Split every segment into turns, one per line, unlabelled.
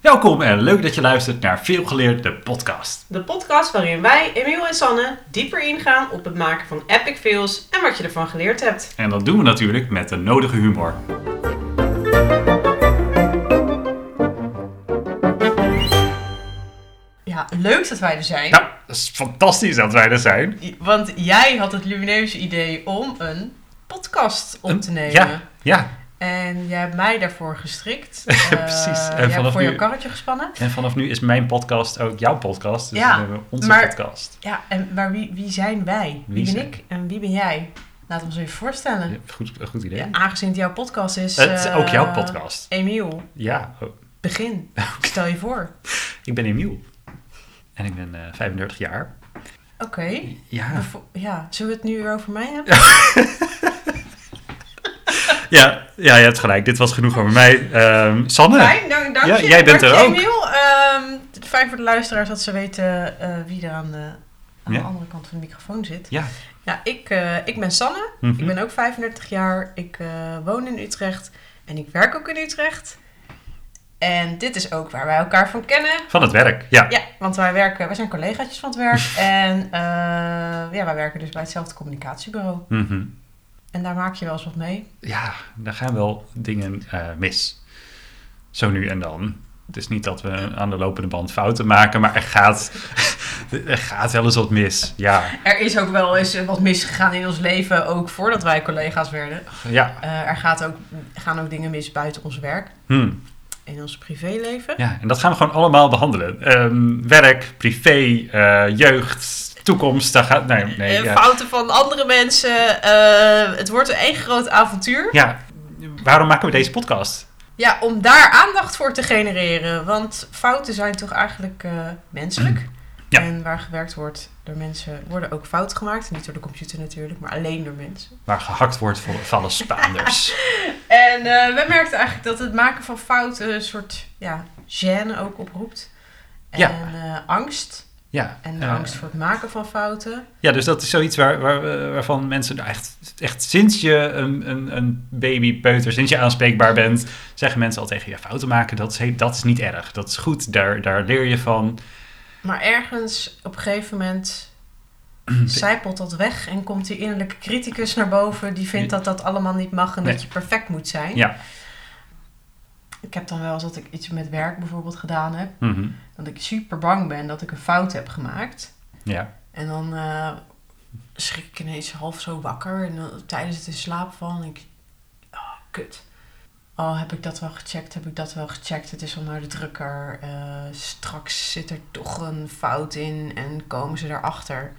Welkom en leuk dat je luistert naar Veel Geleerd, de podcast.
De podcast waarin wij, Emiel en Sanne, dieper ingaan op het maken van epic fails en wat je ervan geleerd hebt.
En dat doen we natuurlijk met de nodige humor.
Ja, leuk dat wij er zijn.
Nou, dat is fantastisch dat wij er zijn.
Want jij had het lumineuze idee om een podcast op te nemen.
Ja, ja.
En jij hebt mij daarvoor gestrikt. Eh,
Precies. En
jij hebt
vanaf
voor
nu-
jouw karretje gespannen.
En vanaf nu is mijn podcast ook jouw podcast. Dus
Ja,
dan hebben we onze
maar-
podcast.
Ja, en, maar wie, wie zijn wij? Wie,
Wie
ben
zijn-
ik en wie ben jij? Laat ons even voorstellen.
Ja, goed, goed idee.
Ja, aangezien het jouw podcast is...
Het is ook jouw
eh,
podcast.
Emiel,
Ja, oh,
begin. Stel je voor.
ik ben Emiel. En ik ben eh, 35 jaar.
Oké.
Ja.
Bevo- Ja, zullen we het nu weer over mij hebben?
Ja, ja, je hebt gelijk. Dit was genoeg over mij. Ehm, Sanne.
Fijn, dank, dank
Ja,
je.
jij bent
Dank
er
je,
ook.
Emiel. Ehm, fijn voor de luisteraars dat ze weten eh, wie er aan de, aan
Ja.
de andere kant van de microfoon zit.
Ja.
Nou, ik, eh, ik ben Sanne.
Mhm.
Ik ben ook 35 jaar. Ik eh, woon in Utrecht. En ik werk ook in Utrecht. En dit is ook waar wij elkaar van kennen.
Van het werk, ja.
Ja, want wij, werken, wij zijn collegaatjes van het werk. en eh, ja, wij werken dus bij hetzelfde communicatiebureau.
Mhm.
En daar maak je wel eens wat mee.
ja, daar gaan wel dingen eh, mis. Zo nu en dan. Het is niet dat we aan de lopende band fouten maken, maar er gaat, er gaat wel eens wat mis. Ja,
Er is ook wel eens eh, wat misgegaan in ons leven, ook voordat wij collega's werden.
ja.
Eh, er gaat ook, gaan ook dingen mis buiten ons werk,
Hm.
in ons privéleven.
ja. En dat gaan we gewoon allemaal behandelen. Ehm, werk, privé, eh, jeugd, toekomst. Daar gaat, nee, nee,
Eh,
ja.
Fouten van andere mensen. eh, het wordt een één groot avontuur.
ja, waarom maken we deze podcast?
Ja, om daar aandacht voor te genereren. Want fouten zijn toch eigenlijk eh, menselijk.
Ja.
En waar gewerkt wordt door mensen, worden ook fouten gemaakt. Niet door de computer natuurlijk, maar alleen door mensen.
Waar gehakt wordt voor vallen Spaanders.
En eh we merkten eigenlijk dat het maken van fouten een soort ja, gêne ook oproept. En
Ja.
eh, angst.
ja.
En
eh,
angst voor het maken van fouten.
Ja, dus dat is zoiets waar, waar, waarvan mensen nou echt, echt sinds je een, een, een babypeuter, sinds je aanspreekbaar bent, zeggen mensen al tegen je fouten maken. Dat is, he- dat is niet erg. Dat is goed. Daar, daar leer je van.
Maar ergens op een gegeven moment zijpelt dat weg en komt die innerlijke criticus naar boven. Die vindt dat dat allemaal niet mag en
Nee.
dat je perfect moet zijn.
Ja.
Ik heb dan wel eens dat ik iets met werk bijvoorbeeld gedaan heb.
Mhm.
Dat ik super bang ben dat ik een fout heb gemaakt.
Ja.
En dan eh, schrik ik ineens half zo wakker en dan, tijdens het in slaap van. Ik, oh, kut. Oh, heb ik dat wel gecheckt? Heb ik dat wel gecheckt? Het is al naar de drukker. Eh, straks zit er toch een fout in en komen ze erachter.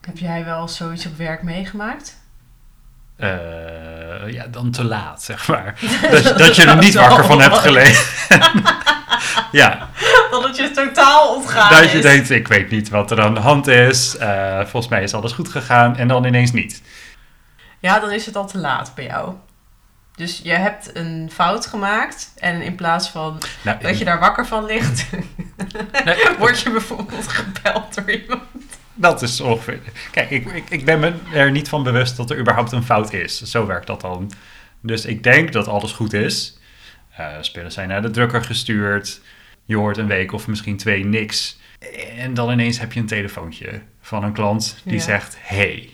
Heb jij wel zoiets op werk meegemaakt?
Eh, ja, dan te laat, zeg maar. Dat, dat je er niet wakker van hebt gelegen. ja,
Dat het je totaal ontgaan
dat je
is.
denkt, ik weet niet wat er aan de hand is. Eh, volgens mij is alles goed gegaan en dan ineens niet.
Ja, dan is het al te laat bij jou. Dus je hebt een fout gemaakt en in plaats van
Nou,
dat je daar wakker van ligt,
Nee,
Word je bijvoorbeeld gebeld door iemand?
Dat is ongeveer. Kijk, ik, ik, ik ben me er niet van bewust dat er überhaupt een fout is. Zo werkt dat dan. Dus ik denk dat alles goed is. Eh spullen zijn naar de drukker gestuurd. Je hoort een week of misschien twee niks. En dan ineens heb je een telefoontje van een klant die
Ja.
zegt: Hey,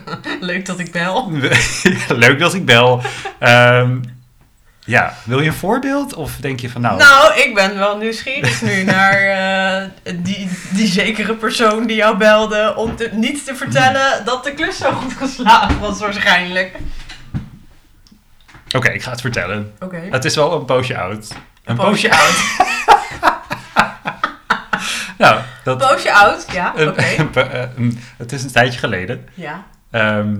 Leuk dat ik bel.
leuk dat ik bel. Ehm, ja, wil je een voorbeeld? Of denk je van nou.
Nou, ik ben wel nieuwsgierig nu naar eh, die, die zekere persoon die jou belde om te, niet te vertellen dat de klus zo goed geslaagd was waarschijnlijk.
Oké, ik ga het vertellen.
Oké.
Het is wel een poosje oud. Een,
poosje
oud. nou, dat,
Poosje oud, ja, oké.
Een- een pa- eh, een- het is een tijdje geleden.
Ja,
Ehm,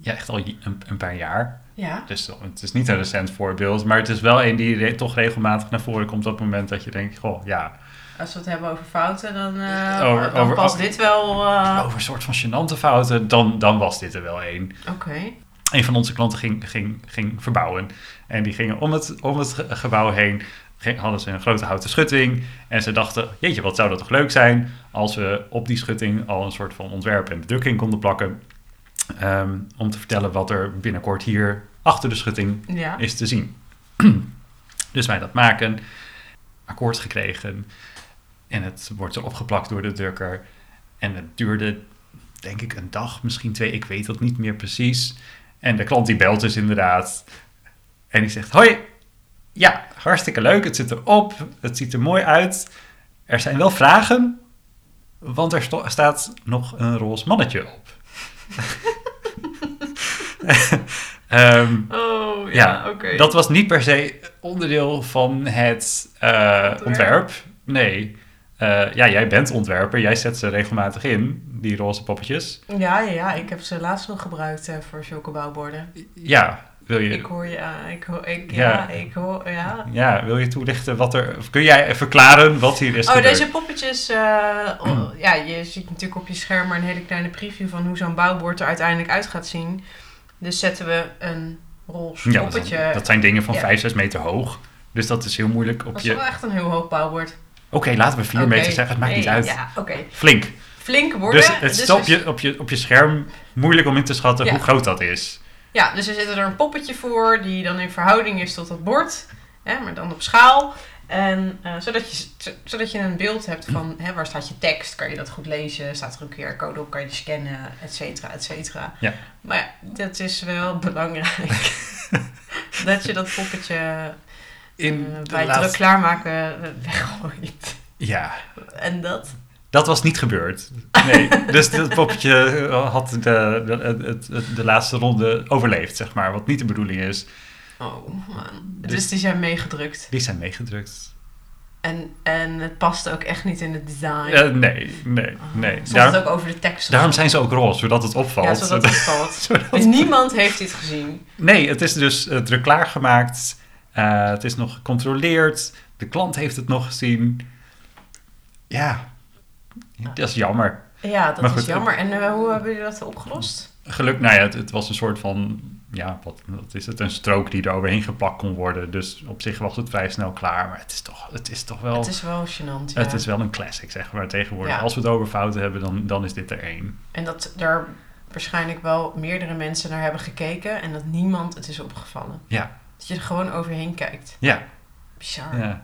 ja, echt al j- een, een paar jaar.
ja.
Dus dan- het is niet een recent voorbeeld, maar het is wel een die re- toch regelmatig naar voren komt op het moment dat je denkt, goh, ja,
Als we het hebben over fouten, dan, eh,
Over-
dan
over- oh.
past dit wel... eh,
over een soort van gênante fouten, dan, dan was dit er wel één.
Oké.
een van onze klanten ging, ging, ging verbouwen. En die gingen om het, om het ge- gebouw heen, ging- hadden ze een grote houten schutting. En ze dachten, jeetje, wat zou dat toch leuk zijn als we op die schutting al een soort van ontwerp en bedrukking konden plakken. Ehm, om te vertellen wat er binnenkort hier achter de schutting
Ja.
is te zien. Dus wij dat maken, akkoord gekregen. En het wordt erop geplakt door de drukker. En het duurde, denk ik, een dag, misschien twee, ik weet dat niet meer precies. En de klant die belt dus inderdaad. En die zegt, hoi, ja, hartstikke leuk, het zit erop, het ziet er mooi uit. Er zijn wel vragen, want er sto- staat nog een roze mannetje op. Ehm,
Oh, ja,
ja,
oké.
dat was niet per se onderdeel van het eh, ontwerp. Nee. Eh, ja, jij bent ontwerper. Jij zet ze regelmatig in, die roze poppetjes.
Ja, ja, ja, ik heb ze laatst nog gebruikt eh, voor chocobouwborden.
Ja, wil je,
Ik hoor je aan, ik hoor, ik, ja.
Ja.
ik hoor, ja. Oh,
ja, wil je toelichten wat er... Of kun jij verklaren wat hier is
Oh,
gebeurd?
deze poppetjes, eh, oh, ja, je ziet natuurlijk op je scherm maar een hele kleine preview van hoe zo'n bouwbord er uiteindelijk uit gaat zien. Dus zetten we een roze
Ja, dat,
poppetje.
zijn- dat zijn dingen van
Ja.
5, 6 meter hoog. Dus dat is heel moeilijk op
Dat is
je...
wel
Oké,
echt een heel hoog bouwbord.
laten we 4
Oké,
meter zeggen. Het maakt niet
nee,
uit.
Ja, oké.
Flink.
Flinke woorden.
dus het is op, je, op, je, op je scherm moeilijk om in te schatten
Ja.
hoe groot dat is.
Ja, dus er zit er een poppetje voor die dan in verhouding is tot dat bord, hè, maar dan op schaal. En, eh, zodat, je, z- zodat je een beeld hebt van hè, waar staat je tekst, kan je dat goed lezen, staat er een QR-code op, kan je die scannen, et cetera, et cetera.
Ja.
Maar ja, dat is wel belangrijk. dat je dat poppetje eh,
de
bij het
laatste-
druk klaarmaken eh, weggooit.
Ja.
En dat,
Dat was niet gebeurd. Nee, dus dat poppetje eh, had de, de, het- het- de laatste ronde overleefd, zeg maar. Wat niet de bedoeling is.
oh man.
Dus-
Dus die zijn meegedrukt.
Die zijn meegedrukt.
En, en het paste ook echt niet in het design.
Eh, nee, nee,
Oh,
nee.
Stond
Daar-
het ook over de tekst? of
daarom
zo?
zijn ze ook roze, zodat het opvalt.
Ja, zodat het valt.
Zodat-
En niemand heeft dit gezien.
Nee, het is dus eh, druk klaargemaakt. Eh, het is nog gecontroleerd. De klant heeft het nog gezien. Ja, dat is jammer.
Ja, dat
Maar
is
goed,
jammer. En eh, hoe hebben jullie dat opgelost?
Geluk, nou ja, het, het was een soort van, ja, wat, wat is het, een strook die er overheen geplakt kon worden. Dus op zich was het vrij snel klaar, maar het is toch, het is toch wel,
Het is wel gênant, ja.
wel een classic, zeg maar, tegenwoordig.
Ja.
Als we het over fouten hebben, dan, dan is dit er één.
En dat daar waarschijnlijk wel meerdere mensen naar hebben gekeken en dat niemand het is opgevallen.
Ja.
Dat je er gewoon overheen kijkt.
Ja,
Bizar. Ja,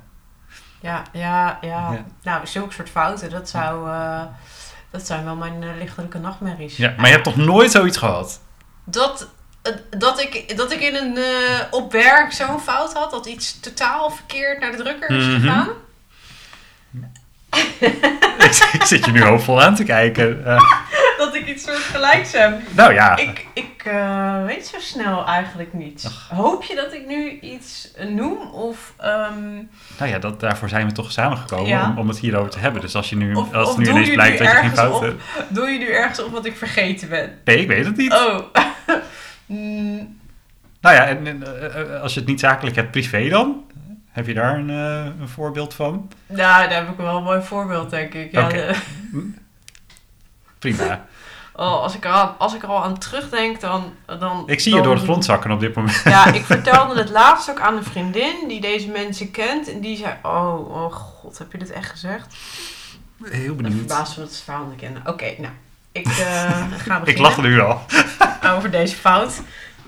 ja.
ja, ja.
Ja.
Nou, zulke soort fouten, dat zou... eh, dat zijn wel mijn eh, lichtelijke nachtmerries.
ja, maar je hebt toch nooit zoiets gehad?
Dat, eh, dat, ik, dat ik in een, eh, op werk zo'n fout had, dat iets totaal verkeerd naar de drukker is
Mhm.
gegaan.
ik, ik zit je nu hoopvol aan te kijken. Eh,
dat ik iets soort gelijks heb.
nou ja,
Ik, ik eh, weet zo snel eigenlijk niet. Hoop je dat ik nu iets eh, noem? Of, ehm,
nou ja dat, daarvoor zijn we toch samengekomen
Ja.
om, om het hierover te hebben. Dus als je nu,
Of-
als
of
nu
doe
ineens
je
blijkt
nu
dat je geen
ergens op?
fouten hebt.
doe je nu ergens op wat ik vergeten ben?
Nee, ik weet het niet.
Oh. Mm,
Nou ja, en, en, eh, eh, als je het niet zakelijk hebt, privé dan? Heb je daar een, eh, een voorbeeld van?
nou, daar heb ik wel een mooi voorbeeld, denk ik. Ja,
Oké.
de-
Prima.
oh, als, ik er al, als ik er al aan terugdenk, dan... dan
Ik zie je
dan-
door het grond zakken op dit moment.
Ja, ik vertelde het laatst ook aan een vriendin die deze mensen kent. En die zei, oh, oh god, heb je dit echt gezegd?
Heel
Ik ben verbaasd van het verhaal dat ik kende. Oké, nou, ik eh ga beginnen
Ik lachte nu al.
over deze fout.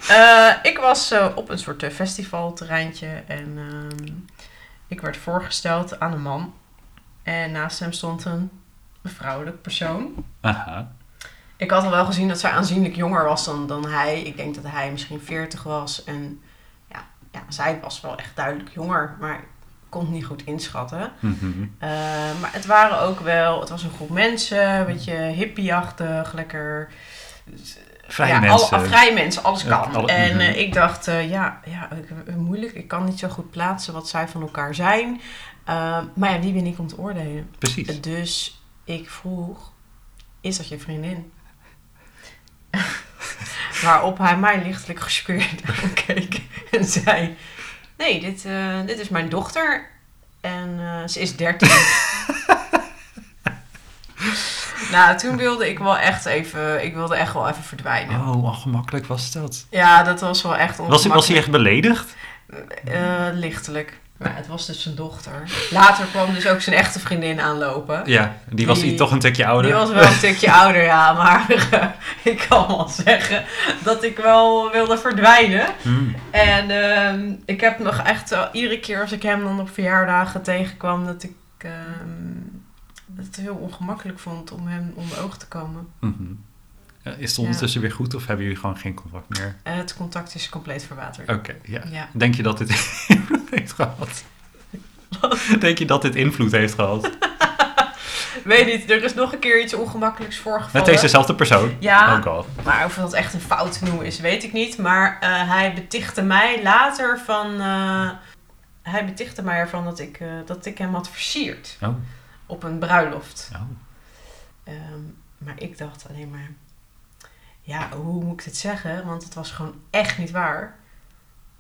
Eh, ik was eh, op een soort eh, festivalterreintje en ehm, ik werd voorgesteld aan een man. En naast hem stond een vrouwelijk persoon.
Aha.
Ik had al wel gezien dat zij aanzienlijk jonger was dan, dan hij. Ik denk dat hij misschien 40 was. En ja, ja, zij was wel echt duidelijk jonger, maar ik kon het niet goed inschatten.
Mhm.
Eh, maar het waren ook wel, het was een groep mensen, een beetje hippieachtig, lekker.
Vrije
ja,
mensen.
Alle, vrije mensen, alles
Ja,
kan.
alle-
en eh,
mhm.
ik dacht, eh, ja, ja ik- eh, moeilijk, ik kan niet zo goed plaatsen wat zij van elkaar zijn. Eh, maar ja, wie ben ik om te oordelen?
Precies.
Dus ik vroeg, is dat je vriendin? Waarop hij mij lichtelijk gespeurd aankeek en zei... Nee, dit, eh, dit is mijn dochter en eh, ze is 13. nou, toen wilde ik wel echt even, ik wilde echt wel even verdwijnen.
Oh, ongemakkelijk was dat.
Ja, dat was wel echt
Was, was hij echt beledigd?
eh lichtelijk. Maar ja, het was dus zijn dochter. Later kwam dus ook zijn echte vriendin aanlopen.
Ja, die was
Die-
die, toch een tikje ouder.
Die was wel een stukje ouder, ja. Maar eh, ik kan wel zeggen dat ik wel wilde verdwijnen.
Hmm.
En ehm, ik heb nog echt wel iedere keer als ik hem dan op verjaardagen tegenkwam, dat ik ehm, het heel ongemakkelijk vond om hem onder oog te komen.
Mhm. Eh, Is het ondertussen weer goed of hebben jullie gewoon geen contact meer?
En het contact is compleet verwaterd.
Oké, ja.
Ja.
Denk je dat dit invloed heeft gehad? Denk je dat dit invloed heeft gehad?
Weet niet, er is nog een keer iets ongemakkelijks
Met
voorgevallen.
dezezelfde persoon? Oh
Ja.
Ook al.
Maar of dat echt een fout te noemen is, weet ik niet. Maar eh, hij betichtte mij later van. eh, hij betichtte mij ervan dat ik, eh, dat ik hem had versierd
Oh.
op een bruiloft.
Oh.
Ehm, maar ik dacht alleen maar, ja, hoe moet ik dit zeggen? Want het was gewoon echt niet waar.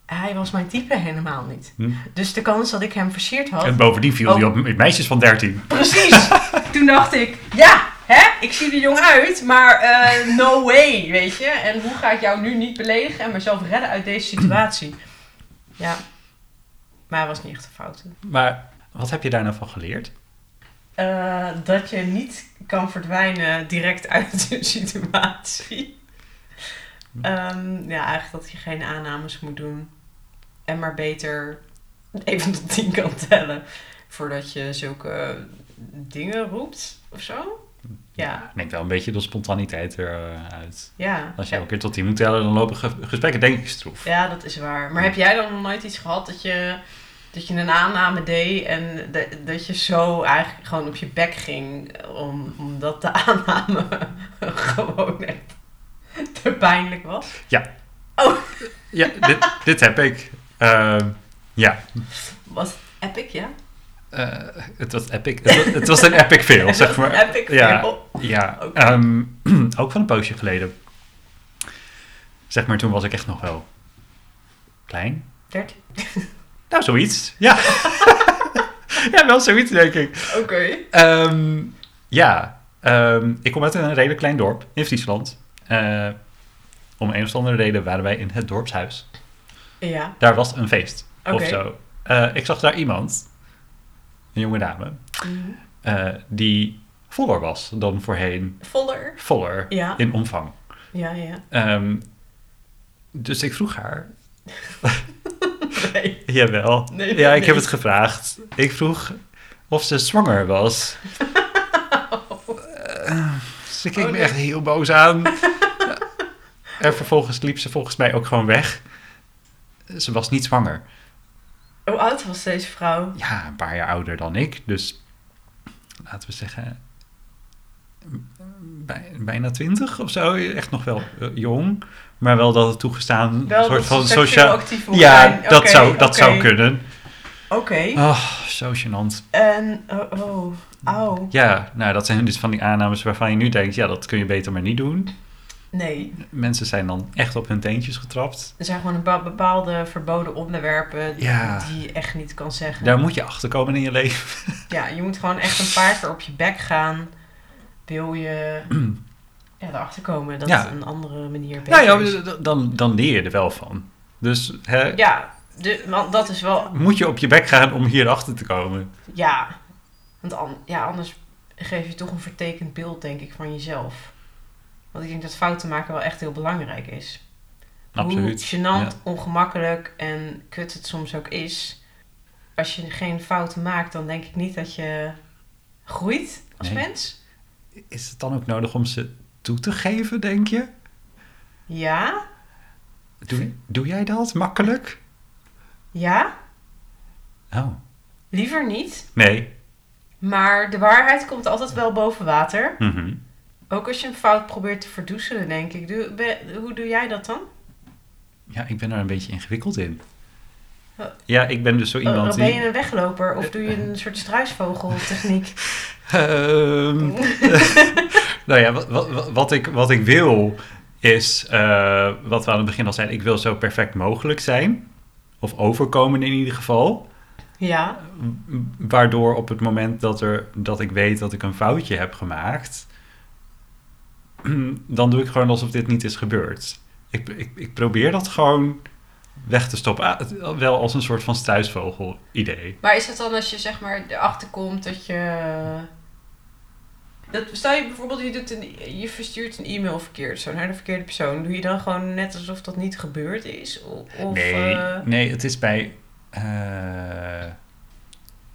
Hij was mijn type helemaal niet.
Hm.
Dus de kans dat ik hem versierd had.
En bovendien viel hij
Oh.
op me- meisjes van 13.
Precies! Toen dacht ik, ja, hè, ik zie er jong uit, maar eh, no way, weet je. En hoe ga ik jou nu niet beledigen en mezelf redden uit deze situatie? Ja, maar hij was niet echt een fout.
Maar wat heb je daar nou van geleerd?
Eh, dat je niet kan verdwijnen direct uit de situatie. Ehm, ja, eigenlijk dat je geen aannames moet doen. En maar beter even tot tien kan tellen. Voordat je zulke dingen roept of zo.
Hm.
Ja,
Ik denk wel een beetje de spontaniteit eruit.
ja.
Als je elke keer tot 10 moet tellen, dan lopen ge- gesprekken denk ik stroef.
Ja, dat is waar. Maar heb jij dan nog nooit iets gehad dat je, dat je een aanname deed en de- dat je zo eigenlijk gewoon op je bek ging om, omdat de aanname gewoon echt te pijnlijk was?
Ja, dit, dit heb ik. Ehm, ja,
Was het epic, ja?
Eh, het was epic. Het was, het was een epic fail, zeg maar.
Epic
ja,
fail.
Ja,
Oké.
ehm, ook van een poosje geleden. Zeg maar, toen was ik echt nog wel klein.
Dertien.
Nou, zoiets. Ja, ja wel zoiets, denk ik.
Oké.
Ehm, ja, ehm, ik kom uit een redelijk klein dorp in Friesland. Eh, om een of andere reden waren wij in het dorpshuis.
Ja,
Daar was een feest
Oké.
of zo. Eh, ik zag daar iemand, een jonge dame,
Mhm.
eh, die voller was dan voorheen.
voller.
Voller
Ja.
in omvang.
Ja, ja.
Ehm, dus ik vroeg haar.
Nee.
Jawel.
Nee,
ja, ik
nee.
heb het gevraagd. Ik vroeg of ze zwanger was. Eh, ze keek
Oh,
me
nee.
echt heel boos aan. Ja. en vervolgens liep ze volgens mij ook gewoon weg. Ze was niet zwanger.
Hoe oud was deze vrouw?
Ja, een paar jaar ouder dan ik. Dus laten we zeggen. mm, bij- bijna twintig of zo. Echt nog wel eh, jong. Maar wel dat het toegestaan.
Wel
een soort
dat
van
ze seksueel
sociaal.
actief moet
Ja,
zijn.
dat,
Oké,
zou, dat
oké,
zou kunnen.
Oké.
Oh, zo gênant.
En, oh, oh, au.
Ja, nou dat zijn dus van die aannames waarvan je nu denkt, ja dat kun je beter maar niet doen.
Nee.
Mensen zijn dan echt op hun teentjes getrapt.
Er zijn gewoon een ba- bepaalde verboden onderwerpen die-
Ja.
die je echt niet kan zeggen.
Daar moet je achter komen in je leven.
Ja, je moet gewoon echt een paar keer op je bek gaan. Wil je ja, erachter komen dat
Ja.
een andere manier beter
Nou
is.
ja, d- d- dan, dan leer je er wel van. Dus hè,
Ja, de, want dat is wel...
moet je op je bek gaan om hier achter te komen.
Ja. Want an- ja, anders geef je toch een vertekend beeld, denk ik, van jezelf. Want ik denk dat fouten maken wel echt heel belangrijk is.
Absoluut.
Hoe
Ja.
gênant, ongemakkelijk en kut het soms ook is. Als je geen fouten maakt, dan denk ik niet dat je groeit als
Nee.
mens.
Is het dan ook nodig om ze toe te geven, denk je?
Ja, Hm.
Doe, doe jij dat makkelijk?
ja,
Oh,
liever niet.
nee.
Maar de waarheid komt altijd wel boven water.
Mhm.
Ook als je een fout probeert te verdoezelen, denk ik. Doe- be- hoe doe jij dat dan?
Ja, ik ben er een beetje ingewikkeld in.
Oh.
Ja, ik ben dus zo
Oh,
iemand
ben
die...
je een wegloper of doe je een soort struisvogeltechniek?
Ehm, nou ja, wat, wat, wat, ik, wat ik wil is, eh, wat we aan het begin al zeiden, ik wil zo perfect mogelijk zijn. Of overkomen in ieder geval.
Ja,
M- Waardoor op het moment dat, er, dat ik weet dat ik een foutje heb gemaakt, dan doe ik gewoon alsof dit niet is gebeurd. Ik, ik, ik probeer dat gewoon weg te stoppen. Ah, het- wel als een soort van struisvogel idee.
Maar is het dan als je zeg maar erachter komt dat je... Dat, stel je bijvoorbeeld, je, doet een, je verstuurt een e-mail verkeerd zo naar de verkeerde persoon. Doe je dan gewoon net alsof dat niet gebeurd is? O- Of,
nee,
eh,
nee, het is bij... eh,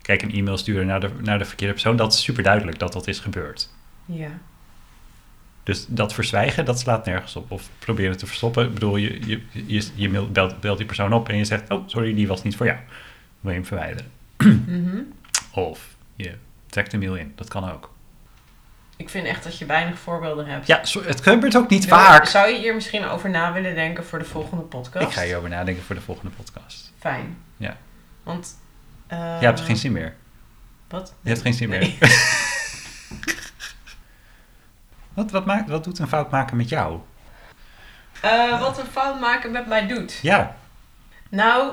kijk, een e-mail sturen naar de, naar de verkeerde persoon. Dat is super duidelijk dat dat is gebeurd.
ja.
Dus dat verzwijgen, dat slaat nergens op. Of proberen te verstoppen. Ik bedoel, je, je, je, je mailt- belt, belt die persoon op en je zegt... Oh, sorry, die was niet voor jou. Wil je hem verwijderen?
Mhm.
Of je trekt de mail in. Dat kan ook.
Ik vind echt dat je weinig voorbeelden hebt.
Ja, zo- het gebeurt ook niet
Nou,
vaak.
Zou je hier misschien over na willen denken voor de volgende podcast?
Ik ga hierover nadenken voor de volgende podcast.
Fijn.
Ja.
Want... eh,
Je hebt geen zin meer.
Wat?
Je hebt geen zin meer.
Nee.
Wat, wat, maakt, wat doet een fout maken met jou?
Eh, wat een fout maken met mij doet.
Ja.
Nou,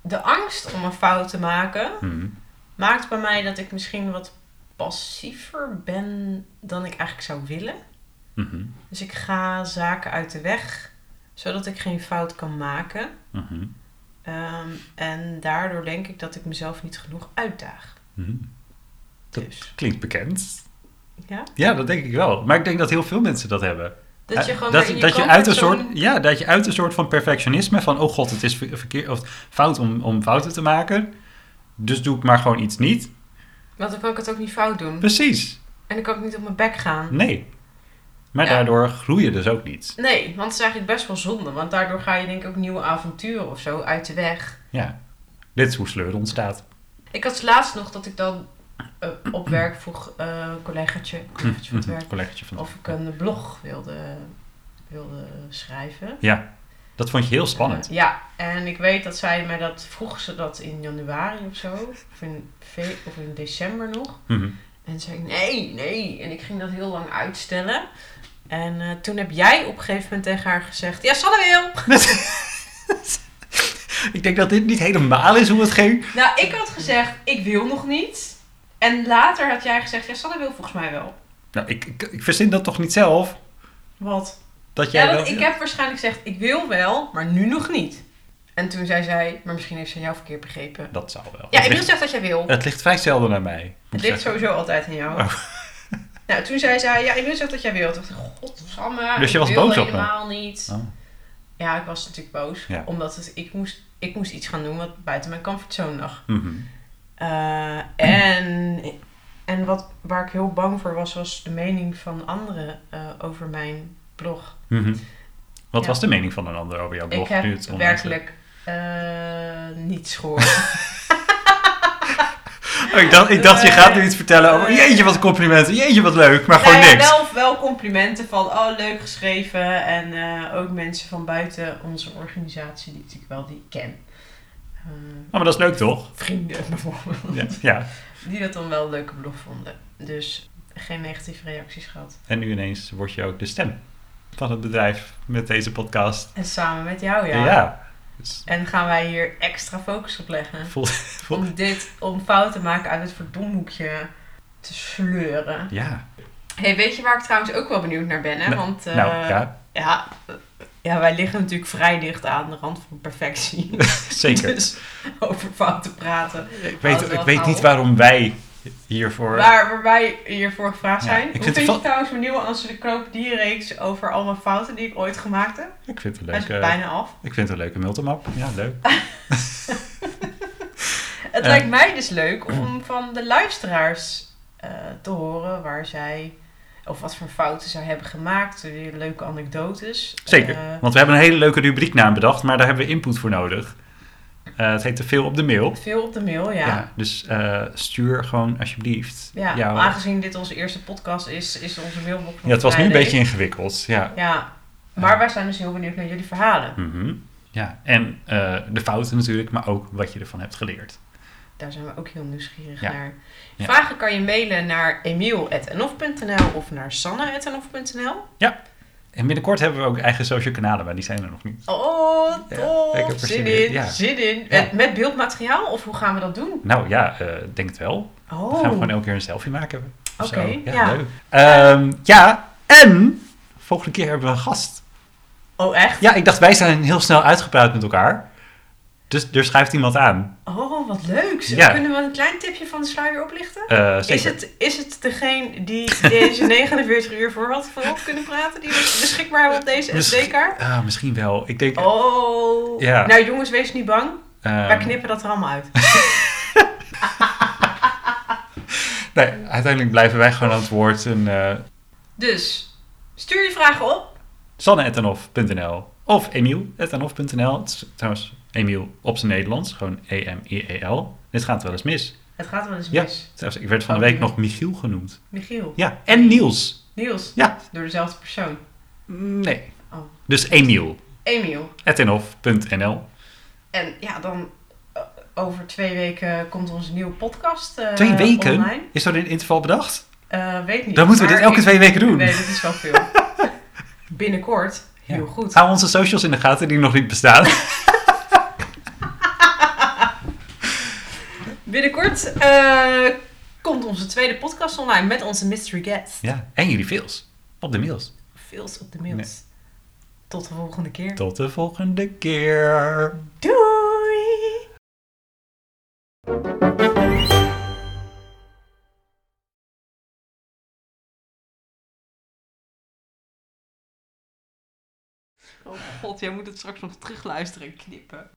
de angst om een fout te maken
Hm.
maakt bij mij dat ik misschien wat passiever ben dan ik eigenlijk zou willen.
Mhm.
Dus ik ga zaken uit de weg, zodat ik geen fout kan maken.
Mhm.
Ehm, en daardoor denk ik dat ik mezelf niet genoeg uitdaag.
Mhm. Dat-
Dus,
Klinkt bekend.
ja.
Ja, dat denk ik wel. Maar ik denk dat heel veel mensen dat hebben.
Dat je
Eh,
gewoon
dat,
weer in je
dat je uit een soort,
comfortzone-
Ja, dat je uit een soort van perfectionisme van... oh god, het is ver- verkeer, of fout om, om fouten te maken. Dus doe ik maar gewoon iets niet.
Want dan kan ik het ook niet fout doen.
Precies.
En dan kan ik niet op mijn bek gaan.
Nee. Maar
Ja.
daardoor groei je dus ook niet.
Nee, want het is eigenlijk best wel zonde. Want daardoor ga je denk ik ook nieuwe avonturen of zo uit de weg.
Ja. Dit is hoe sleur ontstaat.
Ik had laatst nog dat ik dan eh, op werk vroeg eh, een collegaatje, collegaatje van het werk
Collegaatje van
of ik een blog wilde, wilde schrijven.
Ja. Dat vond je heel spannend.
Eh, ja, en ik weet dat zij mij dat vroeg ze dat in januari of zo. Of in, fe- of in december nog.
Mhm.
En zei ik, nee, nee. En ik ging dat heel lang uitstellen. En eh, toen heb jij op een gegeven moment tegen haar gezegd... Ja, Sanne wil!
Ik denk dat dit niet helemaal is hoe het ging.
Nou, ik had gezegd, ik wil nog niet. En later had jij gezegd, ja, Sanne wil volgens mij wel.
Nou, ik, ik, ik verzin dat toch niet zelf?
Wat?
Dat jij
Ja, want
dat-
ik heb waarschijnlijk gezegd, ik wil wel, maar nu nog niet. En toen zei zij, maar misschien heeft ze jou verkeerd begrepen.
Dat zou wel.
Ja,
het,
ik wil
ligt,
zeggen dat jij wil.
het ligt vrij zelden naar mij. moet
Het
ik
ligt
zeggen.
sowieso altijd aan jou.
Oh.
Nou, toen zei zij, ja, ik wil zeggen dat jij wil. Toen dacht ik, godsamme,
Dus je
ik
was
wil
boos op me?
helemaal niet.
Oh.
Ja, ik was natuurlijk boos.
Ja.
Omdat het, ik, moest, ik moest iets gaan doen wat buiten mijn comfortzone lag.
Mhm.
Eh, en en wat, waar ik heel bang voor was, was de mening van anderen eh, over mijn blog.
Mhm. Wat
Ja.
was de mening van een ander over jouw blog?
ik heb
nu het online staat?
werkelijk eh, niets gehoord.
Oh, ik, dacht, ik dacht, je gaat nu iets vertellen over...
Nee.
Jeetje, wat complimenten. Jeetje, wat leuk. Maar gewoon
Nou Eh, ja,
niks.
Wel, wel complimenten van, oh leuk geschreven. En eh, ook mensen van buiten onze organisatie, die natuurlijk wel die ik ken. Eh,
Oh, maar dat is leuk, toch?
vrienden bijvoorbeeld.
Ja. ja.
Die dat dan wel een leuke blog vonden. Dus geen negatieve reacties gehad.
En nu ineens word je ook de stem van het bedrijf met deze podcast.
En samen met jou, ja.
ja. Dus
En gaan wij hier extra focus op leggen.
vol- vol-
Om dit, om fouten te maken uit het verdomhoekje te sleuren.
ja.
hey, weet je waar ik trouwens ook wel benieuwd naar ben? Hè?
Nou,
Want eh,
nou,
ja.
ja.
Ja, wij liggen natuurlijk vrij dicht aan de rand van perfectie.
Zeker.
Dus over fouten praten.
Ik weet,
Oud,
ik
oud,
weet
oud.
niet waarom wij hiervoor.
Waar, waar wij hiervoor gevraagd
Ja,
zijn.
ik
Hoe
vind
vind,
het
je
wel-
trouwens mijn nieuwe Amsterdam die reeks over allemaal fouten die ik ooit gemaakt heb?
Ik vind het een
Hij is
leuke,
bijna af.
ik vind het een leuke multimap. Ja, leuk. Eh.
Het
Mm.
lijkt mij dus leuk om van de luisteraars eh, te horen waar zij of wat voor fouten zij hebben gemaakt. Weer leuke anekdotes.
Zeker.
Eh,
Want we hebben een hele leuke rubrieknaam bedacht, maar daar hebben we input voor nodig. Eh, het heet te veel op de mail.
veel op de mail, ja. ja.
dus eh, stuur gewoon alsjeblieft. jouw-
aangezien dit onze eerste podcast is, is onze mailbox nog
ja, het was nu
vrij
een
leeg.
beetje ingewikkeld. Ja.
Ja, maar wij zijn dus heel benieuwd naar jullie verhalen.
Mhm. ja. En eh, de fouten natuurlijk, maar ook wat je ervan hebt geleerd.
Daar zijn we ook heel nieuwsgierig
Ja.
naar.
Ja.
Vragen kan je mailen naar emiel.nl of naar sanne.nl.
En binnenkort hebben we ook eigen social kanalen, maar die zijn er nog niet.
Oh,
Ja,
tof!
ik heb er
zin
zin in,
in,
ja.
zin in.
Ja.
Met, met beeldmateriaal of hoe gaan we dat doen?
Nou ja, eh, denk het wel. Dan gaan we
Oh,
gewoon elke keer een selfie maken. of
Oké,
zo.
ja.
leuk. Ehm, ja, en volgende keer hebben we een gast.
Oh, echt?
Ja, ik dacht, wij zijn heel snel uitgepraat met elkaar. Dus er schrijft iemand aan.
Oh, wat leuk. Zo
Ja.
Kunnen we een klein tipje van de sluier oplichten?
Eh, zeker.
Is het, is het degene die deze 49 uur voor had voorop kunnen praten, die we beschikbaar hebben op deze
Misschien-
SD-kaart?
Ah, misschien wel. Ik denk,
Oh.
Ja.
Nou jongens, wees niet bang.
ehm,
Wij knippen dat er allemaal uit.
nee, uiteindelijk blijven wij gewoon aan het woord. En, eh
Dus, stuur je vragen op.
sanne.enhof.nl of emiel.enhof.nl. Het is Trouwens, Emiel op zijn Nederlands. Gewoon E E-M-I-E-L. Dit gaat wel eens mis.
Het gaat wel eens
Ja.
mis. Oh.
Trouwens, ik werd van de week nog Michiel genoemd.
Michiel,
Ja, en Niels.
Niels,
Ja.
door dezelfde persoon.
Nee.
Oh.
Dus Emiel.
Emiel.
enhof.nl.
En ja, dan eh, over twee weken komt onze nieuwe podcast eh,
Twee weken?
online.
Is dat in een interval bedacht?
Eh, weet niet.
Dan moeten we
maar
dit elke
ik-
twee weken doen.
Nee, dat is wel veel. Binnenkort. Heel
Ja.
goed.
Hou onze socials in de gaten die nog niet bestaan.
Binnenkort eh, komt onze tweede podcast online met onze mystery guest.
ja, en jullie veels. Op de mails.
Veels op de mails. Tot de volgende keer.
Tot de volgende keer.
Doei! Oh god, jij moet het straks nog terugluisteren en knippen.